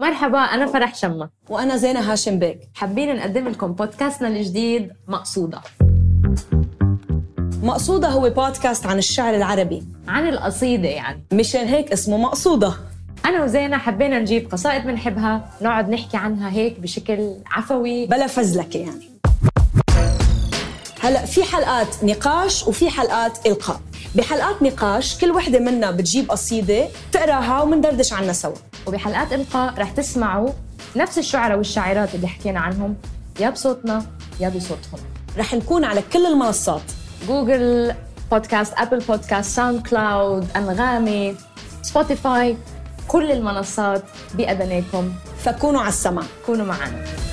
مرحبا أنا فرح شمة وانا زينه هاشم بيك حابين نقدم لكم بودكاستنا الجديد مقصودة مقصوده هو بودكاست عن الشعر العربي عن القصيدة يعني مشان هيك اسمه مقصوده أنا وزينة حبينا نجيب قصائد بنحبها نقعد نحكي عنها هيك بشكل عفوي بلا فزلكه يعني هلا في حلقات نقاش وفي حلقات القاء بحلقات نقاش كل وحده منا بتجيب قصيده تقراها ومندردش عنها سوا وبحلقات إلقاء رح تسمعوا نفس الشعراء والشاعرات اللي حكينا عنهم يا بصوتنا يا بصوتهم رح نكون على كل المنصات جوجل بودكاست ابل بودكاست ساوند كلاود انغامي سبوتيفاي كل المنصات باذنيكم فكونوا على السمع كونوا معنا